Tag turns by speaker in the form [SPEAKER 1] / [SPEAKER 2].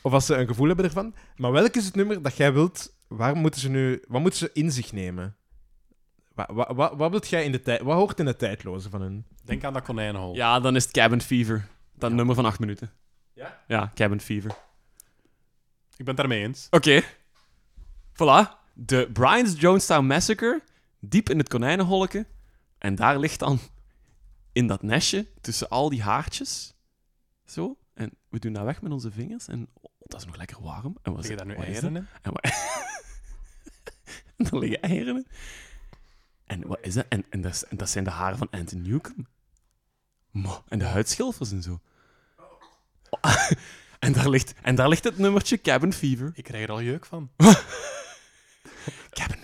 [SPEAKER 1] of als ze een gevoel hebben ervan. Maar welk is het nummer dat jij wilt? Waar moeten ze nu, wat moeten ze in zich nemen? Wat, wat, wat, wat wilt jij in de tijd? Wat hoort in de tijdloze van hun?
[SPEAKER 2] Denk aan dat konijnenhol.
[SPEAKER 3] Ja, dan is het Cabin Fever. Dat nummer van 8 minuten.
[SPEAKER 1] Ja?
[SPEAKER 3] Ja, Cabin Fever.
[SPEAKER 2] Ik ben het daarmee eens.
[SPEAKER 3] Oké. Voilà. De Brian's Jonestown Massacre. Diep in het konijnenholken. En daar ligt dan in dat nestje tussen al die haartjes. Zo. En we doen dat weg met onze vingers. En oh, dat is nog lekker warm. En wat is
[SPEAKER 2] Zeg je daar nu
[SPEAKER 3] het? Wat is
[SPEAKER 2] eieren in?
[SPEAKER 3] En wat... er liggen eieren in. En wat is dat? En, en, dat, is- en dat zijn de haren van Anton Newcomb. Mo, en de huidschilfers en zo. Oh, en, daar ligt, en daar ligt het nummertje Cabin Fever.
[SPEAKER 2] Ik krijg er al jeuk van.
[SPEAKER 3] Cabin